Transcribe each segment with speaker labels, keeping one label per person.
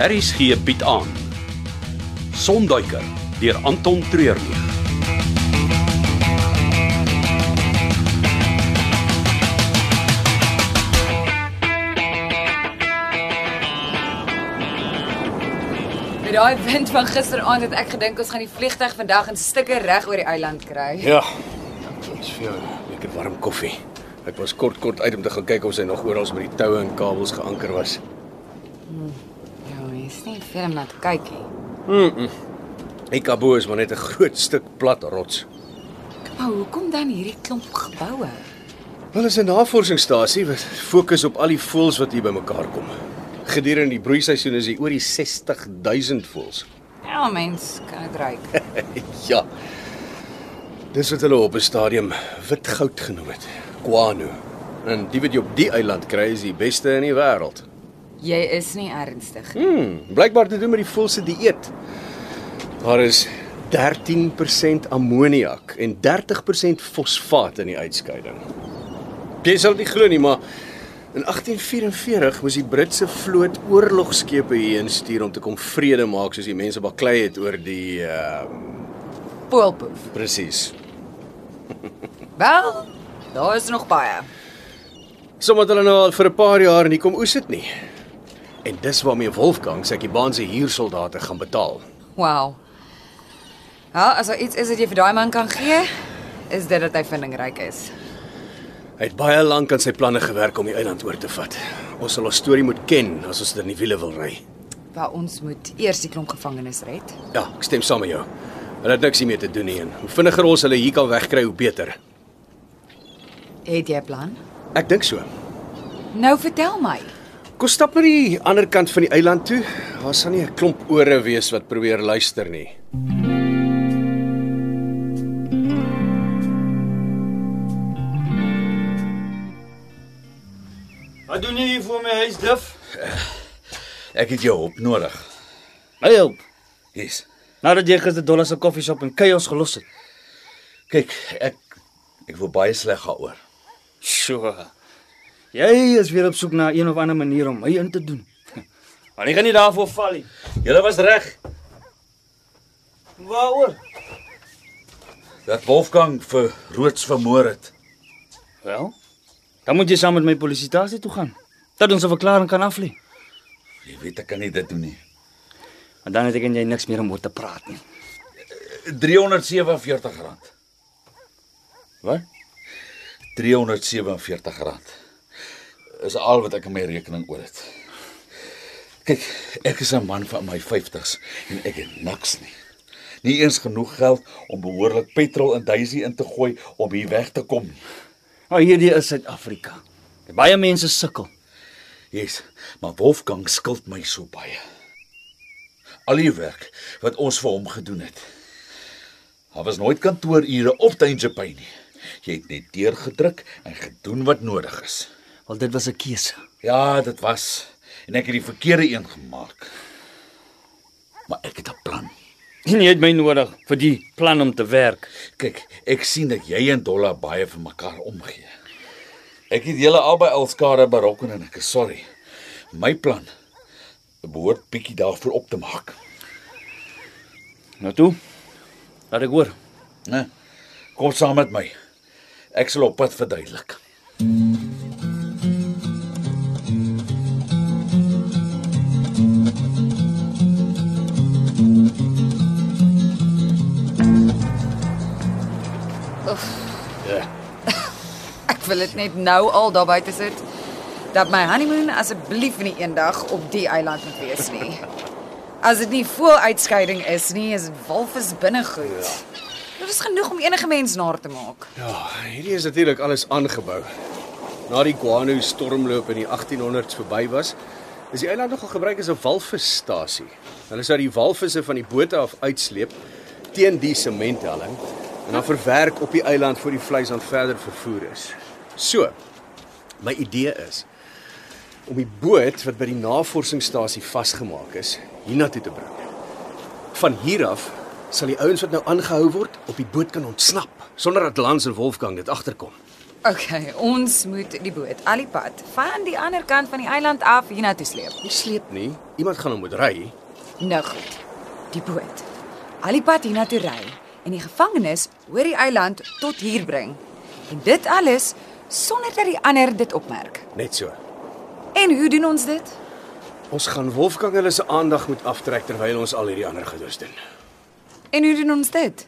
Speaker 1: RSG bied aan Sonduiker deur Anton Treurnig.
Speaker 2: Met daai wind van gisteraand het ek gedink ons gaan die vliegtyg vandag in stukke reg oor die eiland kry.
Speaker 3: Ja. Ons vir jou 'n lekker warm koffie. Ek was kort kort uit om te gaan kyk of sy nog oral by die toue en kabels geanker was.
Speaker 2: Ja, jy's nie veel om na te kyk nie.
Speaker 3: Die Kabo is maar net 'n groot stuk plat rots.
Speaker 2: Maar hoekom dan hierdie klomp geboue?
Speaker 3: Wel is 'n navorsingsstasie wat fokus op al die voëls wat hier bymekaar kom. Gedurende die broeiseisoen is hier oor die 60000 voëls.
Speaker 2: Ja, mens, kan dit ryk.
Speaker 3: Ja. Dis wat hulle op 'n stadium wit goud genoem het, guano. En die wat jy op die eiland kry is die beste in die wêreld.
Speaker 2: Jy is nie ernstig. nie.
Speaker 3: Hmm, blykbaar te doen met die volse dieet. Daar is 13% ammoniak en 30% fosfaat in die uitskeiding. Jy sal dit nie glo nie, maar in 1844 moes die Britse vloot oorlogskepe hierheen stuur om te kom vrede maak soos die mense baklei het oor die uh
Speaker 2: Poolpoef.
Speaker 3: presies.
Speaker 2: Wel, daar is nog baie.
Speaker 3: Sommige hulle nou al vir 'n paar jaar nie kom oes dit nie. En dis waarmee Wolfgang Sekibaan se huursoldate gaan betaal.
Speaker 2: Wow. Ja, as daar iets is wat jy vir daai man kan gee, is dit dat hy vindingryk is.
Speaker 3: Hy het baie lank aan sy planne gewerk om die eiland oor te vat. Ons sal ons storie moet ken as ons dit in die wiele wil ry.
Speaker 2: Waar ons moet eers die klomp gevangenes red.
Speaker 3: Ja, ek stem saam met jou. Hulle het niks hiermee te doen nie en hoe vinniger ons hulle hier kan wegkry, hoe beter.
Speaker 2: Het jy 'n plan?
Speaker 3: Ek dink so.
Speaker 2: Nou vertel my.
Speaker 3: Kom stap na die ander kant van die eiland toe. Daar sal nie 'n klomp ore wees wat probeer luister nie.
Speaker 4: Wat doen jy hier voor my huis, Duf?
Speaker 5: Ek het jou hulp nodig. My hulp. Yes.
Speaker 4: Nadat jy gister Dollar se koffieshop in chaos gelos het.
Speaker 5: Kyk, ek ek voel baie sleg daaroor.
Speaker 4: Sjoe. Jy is weer op soek na een of ander manier om my in te doen. Maar ek gaan nie daarvoor val nie.
Speaker 5: Jy was reg.
Speaker 4: Waaroor?
Speaker 5: Dat Wolfgang vir Roots vermoor het.
Speaker 4: Wel, dan moet jy saam met my polisiestasie toe gaan. Dat ons 'n verklaring kan aflê.
Speaker 5: Jy weet ek kan nie dit doen nie.
Speaker 4: Want dan het ek en jy niks meer om oor te praat nie.
Speaker 5: R347. rand.
Speaker 4: Wat?
Speaker 5: R347 rand. is al wat ek in my rekening oor het. Kyk, ek is 'n man van my 50s en ek het niks nie. Nie eens genoeg geld om behoorlik petrol in Daisy in te gooi om hier weg te kom nie.
Speaker 4: Maar hierdie is Suid-Afrika. Baie mense sukkel.
Speaker 5: Yes, maar Wolfgang skuld my so baie. Al die werk wat ons vir hom gedoen het. Daar was nooit kantoorure op Tuinjepay nie. Jy het net deurgedruk en gedoen wat nodig is.
Speaker 4: Want dit was 'n keuse.
Speaker 5: Ja, dit was en ek het die verkeerde een gemaak. Maar ek het 'n plan.
Speaker 4: En jy het my nodig vir die plan om te werk.
Speaker 5: Kyk, ek sien dat jy en Dolla baie vir mekaar omgee. Ek het julle albei al skare berokken en ek is sorry. My plan behoort bietjie daarvoor op te maak.
Speaker 4: Nou toe. Laat ek hoor.
Speaker 5: Né? Kom saam met my. Ek sal op pad verduidelik.
Speaker 2: Ek wil dit net nou al daar buite sit dat my honeymoon asseblief nie eendag op die eiland moet wees nie. As dit nie vol uitskeiding is nie, is dit walvis binnegoed. Ja. Dit is genoeg om enige mens naar te maak.
Speaker 3: Ja, hierdie is natuurlik alles aangebou. Na die guano stormloop in die 1800s verby was, is die eiland nogal gebruik as 'n walvisstasie. Hulle sou die walvisse van die bote af uitsleep teen die sementhelling en dan verwerk op die eiland voor die vleis aan verder vervoer is. So, my idee is om die boot wat by die navorsingsstasie vasgemaak is, hiernatoe te bring. Van hier af sal die ouens wat nou aangehou word op die boot kan ontsnap sonder dat Lans en Wolfgang dit agterkom.
Speaker 2: Okay, ons moet die boot al die pad van die ander kant van die eiland af hiernatoe sleep.
Speaker 3: Nie sleep nie. Iemand gaan hom moet ry.
Speaker 2: Nou goed. Die boot. Al die pad hiernatoe ry en die gevangenes oor die eiland tot hier bring. En dit alles sonder dat die ander dit opmerk.
Speaker 3: Net so.
Speaker 2: En hoe doen ons dit?
Speaker 3: Ons gaan Wolfgang hulle se aandag moet aftrek terwyl ons al hierdie ander gedoes doen.
Speaker 2: En hoe doen ons dit?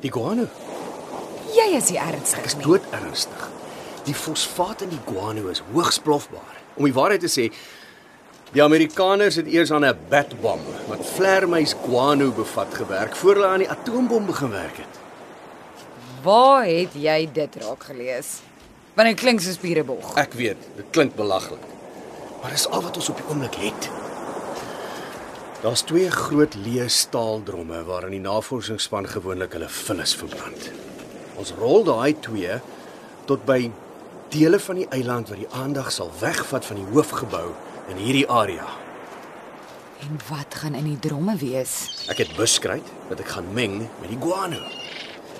Speaker 3: Die guano.
Speaker 2: Jy is die ernstig.
Speaker 3: Ek is dood ernstig. Die fosfaat in die guano is hoogs plofbaar. Om die waarheid te sê, die Amerikaners het eers aan 'n batbom wat vlermuis guano bevat gewerk voor hulle aan die atoombom begin werk het.
Speaker 2: Waar het jy dit raak gelees? Want dit klink soos pierebog.
Speaker 3: Ek weet, dit klink belaglik. Maar dis al wat ons op die oomblik het. Daar's twee groot leë staaldromme waarin die navorsingsspan gewoonlik hulle vullis verbrand. Ons rol daai twee tot by dele van die eiland wat die aandag sal wegvat van die hoofgebou in hierdie area.
Speaker 2: En wat gaan in die dromme wees?
Speaker 3: Ek het buskruit wat ek gaan meng met die guano.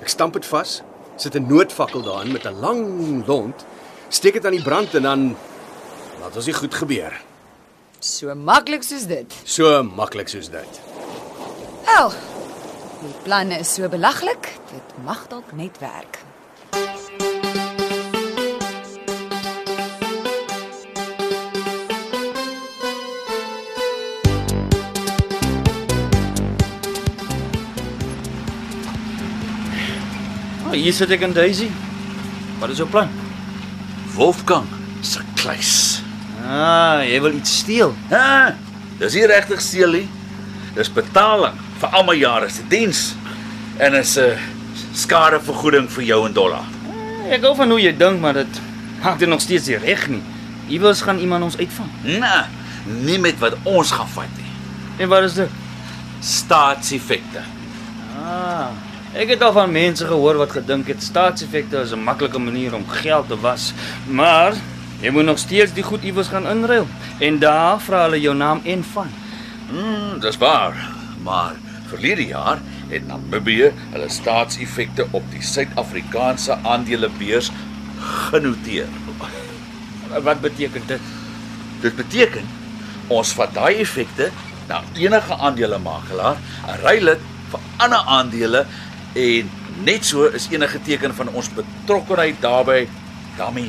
Speaker 3: Ek stamp dit vas, sit 'n noodvakkel daarin met 'n lang lont, steek dit aan die brand en dan laat ons dit goed gebeur.
Speaker 2: So maklik soos dit.
Speaker 3: So maklik soos dit.
Speaker 2: Wel, die plan is so belaglik, dit mag dalk net werk.
Speaker 4: Nou, hier sit ek en Daisy. Wat is jou plan?
Speaker 5: Wolfgang se kluis.
Speaker 4: Ah, jy wil iets steel.
Speaker 5: Ha, dis nie regtig steel nie. Dis betaling vir al my jare se diens en is 'n skadevergoeding vir jou in dollar.
Speaker 4: Ek gou van hoe jy dink, maar dit maak dit nog steeds nie reg nie. Iewers gaan iemand ons uitvang.
Speaker 5: Nee, nie met wat ons gaan vat nie.
Speaker 4: En wat is dit?
Speaker 5: Staatseffekte.
Speaker 4: Ah, ek het al van mense gehoor wat gedink het staatseffekte is 'n maklike manier om geld te was, maar jy moet nog steeds die goed iewers gaan inruil en daar vra hulle jou naam en van.
Speaker 5: Mm, dis waar. Maar verlede jaar het Namibië hulle staatseffekte op die Suid-Afrikaanse aandelebeurs genoteer.
Speaker 4: Wat beteken dit?
Speaker 5: Dit beteken ons vat daai effekte na enige aandelemagelaar, en ruil dit vir ander aandele en net so is enige teken van ons betrokkeheid daarbey daarmee.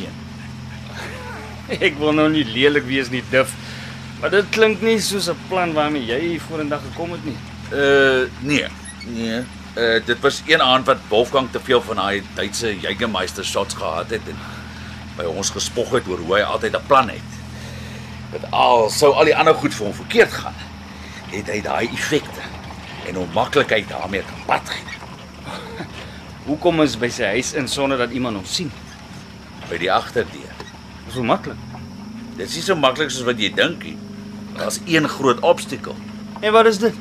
Speaker 5: heen.
Speaker 4: Ek wil nou nie lelik wees nie, Duf. Maar dit klink nie soos 'n plan waarmee jy vorendag gekom het nie.
Speaker 5: Uh nee, nee. Uh dit was een aand wat Wolfgang te veel van daai Duitse Jägermeister shots gehad het en by ons gespog het oor hoe hy altyd 'n plan het. Dit al sou al die ander goed vir hom verkeerd gaan. Het hy daai effekte en hoe maklik hy daarmee kan pad gaan.
Speaker 4: Hoekom is by sy huis in sonder dat iemand hom sien?
Speaker 5: by die agterdeur.
Speaker 4: Dis so maklik.
Speaker 5: Dit is nie so maklik soos wat jy dink nie. Daar's een groot obstakel.
Speaker 4: En wat is dit?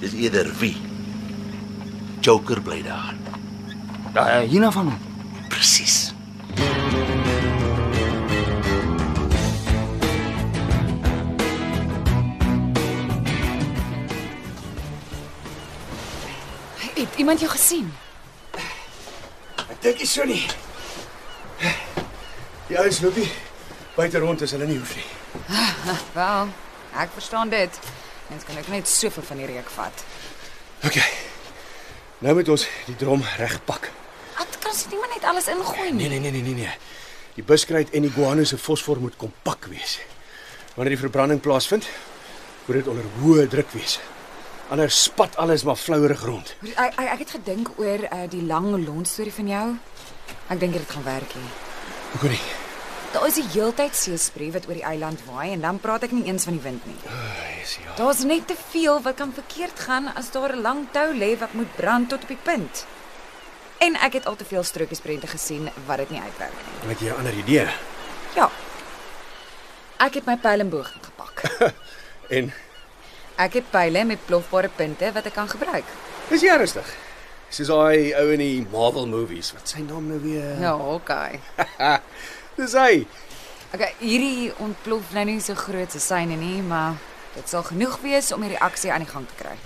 Speaker 5: Dis eerder wie. Joker bly daar.
Speaker 4: Daai hierna van hom.
Speaker 5: Presies.
Speaker 2: Het iemand jou gesien?
Speaker 3: Ek dink nie so nie. Die ou snoepie buite rond as hulle nie hoef nie.
Speaker 2: Wel, ek verstaan dit. Mens kan ook net soveel van die reuk vat.
Speaker 3: OK. Nou moet ons die drom regpak.
Speaker 2: Wat kan ons nie maar net alles ingooi
Speaker 3: Nee
Speaker 2: nie?
Speaker 3: nee nee nee nee nee. Die buskruit en die guano se fosfor moet kompak wees. Wanneer die verbranding plaasvind, moet dit onder hoë druk wees. Anders spat alles maar flouerig rond.
Speaker 2: Ek, ek, ek het gedink oor uh, die lang lont storie van jou. Ek dink dit gaan werk hier.
Speaker 3: Hoekom nie?
Speaker 2: Daar is die heeltyd seespree wat oor die eiland waai en dan praat ek nie eens van die wind nie.
Speaker 3: Dis ja.
Speaker 2: Daar's net te veel wat kan verkeerd gaan as daar 'n lang tou lê wat moet brand tot op die punt. En ek het al te veel strokiesprente gesien wat dit nie uitwerk nie.
Speaker 3: Met jy 'n ander idee.
Speaker 2: Ja. Ek het my pylenboog gepak.
Speaker 3: En
Speaker 2: Ek het pyle met plofbare punte wat ek kan gebruik.
Speaker 3: dis jy ernstig. Soos daai ou in die Marvel movies. Wat sy naam nou weer?
Speaker 2: Ja, okay.
Speaker 3: Dis hy.
Speaker 2: Okay, hierdie ontplof nou nie so groot se syne nie, maar dit sal genoeg wees om die reaksie aan die gang te kry.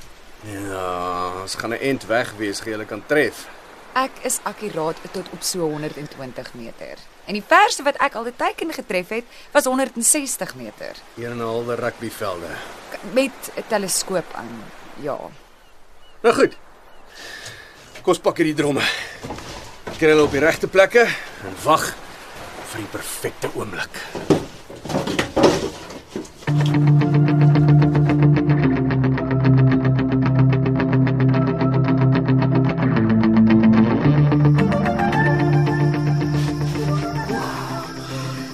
Speaker 3: Ja, ons gaan 'n end weg wees, gee hulle kan tref.
Speaker 2: Ek is akuraat tot op so 120 meter. En die verste wat ek al die teiken getref het, was 160 meter
Speaker 3: Hier en 'n halwe rugbyvelde.
Speaker 2: K- met 'n teleskoop aan. Ja.
Speaker 3: Nou goed. Kom ons pak hierdie dromme. Kry hulle op die regte plekke en wag vir die perfekte oomblik.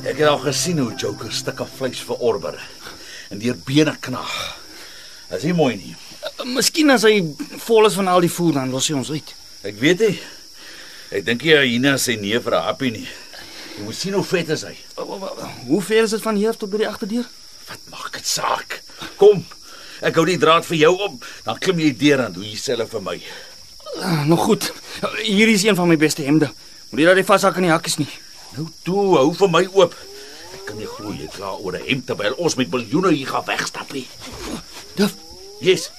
Speaker 5: Ek het al gesien hoe Joker stukke vleis verorber en deur bene knaag. Dis nie mooi nie.
Speaker 4: eh, Miskien as hy vol is van al die voer dan los hy ons uit.
Speaker 5: Ek weet nie. Ek dink jy Hina sê nee vir 'n happie nie. Jy moet sien hoe vet is hy.
Speaker 4: Hoe ver is dit van hier tot by die agterdeur?
Speaker 5: Wat maak dit saak? Kom. Ek hou die draad vir jou op, dan klim jy deur en doen jouself vir my.
Speaker 4: Ah, Nog goed. Hier is een van my beste hemde. Moenie dat hy vashak aan die hakkies nie.
Speaker 5: Nou toe, hou vir my oop. Ek kan nie glo jy kla oor 'n hemd terwyl ons met miljoene hier gaan wegstap nie.
Speaker 4: Duf,
Speaker 5: Yes.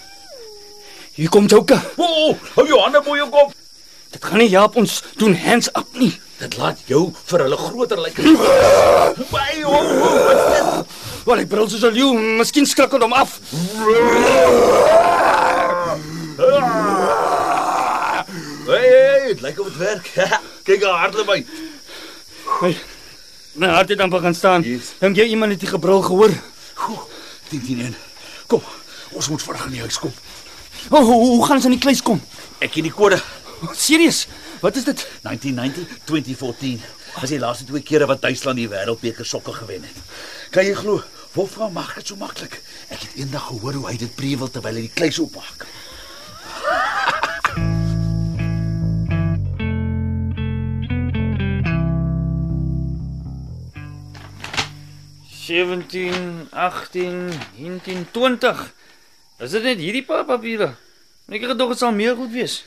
Speaker 4: hier kom Joker.
Speaker 5: O, oh, hou jou hande mooi op kop.
Speaker 4: Dit gaan nie help ons doen hands up nie.
Speaker 5: Dit laat jou vir hulle groter lyk. Ai, o, o, wat is dit?
Speaker 4: Wel, hy brul soos 'n leeu, miskien skrik dit hom af.
Speaker 5: Hey, hey, dit lyk of dit werk. Kyk haar hardloop hy.
Speaker 4: My, my hart het amper gaan staan.
Speaker 5: Yes.
Speaker 4: Dink jy iemand het die gebrul gehoor?
Speaker 5: Goe, 10 10 1. Kom, ons moet vinnig in die huis kom.
Speaker 4: O, oh, hoe hoe gaan ons aan die kluis kom?
Speaker 5: Ek ken die kode.
Speaker 4: Serius? Wat is dit?
Speaker 5: 1990 2014. Was die laaste twee kere wat Duitsland die Wêreldbeker sokker gewen het. Kan jy glo? Wolfgang maak dit so maklik. Ek het eendag gehoor hoe hy dit prewel terwyl hy die kluis oopmaak.
Speaker 4: Zeventien, 18, 19, 20. Is dit net hierdie paar papiere? Ek het gedog dit sal meer goed wees.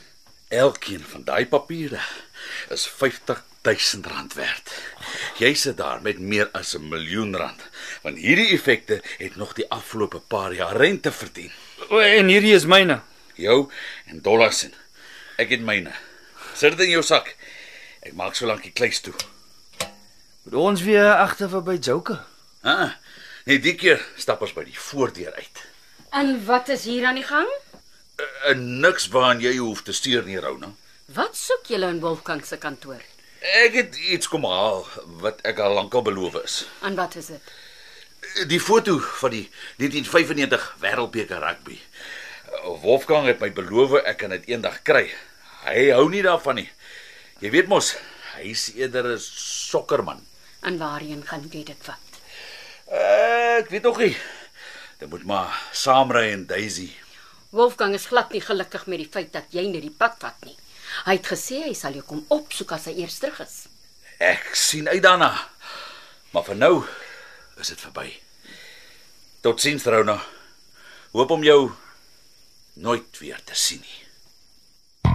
Speaker 5: Elkeen van daai papiere is 50000 rand werd. Jy sit daar met meer as 'n miljoen rand, want hierdie effekte het nog die afgelope paar jaar rente verdien.
Speaker 4: O, en hierdie is myne.
Speaker 5: Jou en dollars in. Ek het myne. Sit dit in jou sak. Ek maak so lank die kluis toe.
Speaker 4: Moet ons weer agter verby Joker.
Speaker 5: Ah, net die keer stap ons by die voordeur uit.
Speaker 6: En wat is hier aan die gang?
Speaker 5: Uh, niks waaraan jy hoef te stuur nie, Rona.
Speaker 6: Wat soek julle in Wolfgang se kantoor?
Speaker 5: Ek het iets kom haal wat ek al lankal beloof is.
Speaker 6: En wat is dit?
Speaker 5: die foto van die 1995 Wêreldbeker rugby. Wolfgang het my beloof ek kan dit eendag kry. Hy hou nie daarvan nie. Jy weet mos, hy's eerder 'n sokkerman.
Speaker 6: En waarheen gaan jy dit vat?
Speaker 5: Ek weet nog nie. Dit moet maar saamry en Daisy.
Speaker 6: Wolfgang is glad nie gelukkig met die feit dat jy net die pad vat nie. Hy het gesê hy sal jou kom opsoek as hy eers terug is.
Speaker 5: Ek sien uit daarna. Maar vir nou is dit verby. Totsiens Rona. Hoop om jou nooit weer te sien nie.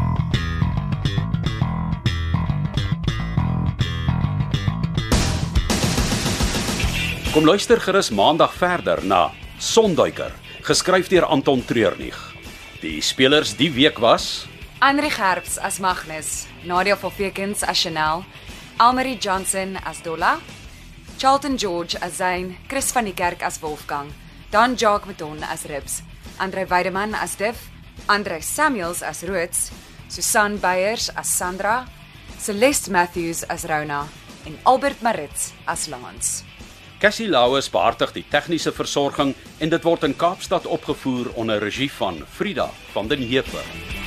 Speaker 1: Kom luister gerus maandag verder na Sonduiker, geskryf deur Anton Treurnig. Die spelers die week was
Speaker 2: Andre Gerbs as Magnus, Nadia Verfekens as Chanel, Almarie Johnson as Dolla, Charlton George as Zain, Chris van die Kerk as Wolfgang, Dan Jacques Maton as Rips, Andre Weideman as Diff, Andre Samuels as Roots, Susan Beyers as Sandra, Celeste Matthews as Rona en Albert Marits as Lance.
Speaker 1: Cassie Lauers behartig die tegniese versorging en dit word in Kaapstad opgevoer onder regie van Frida van den Heever.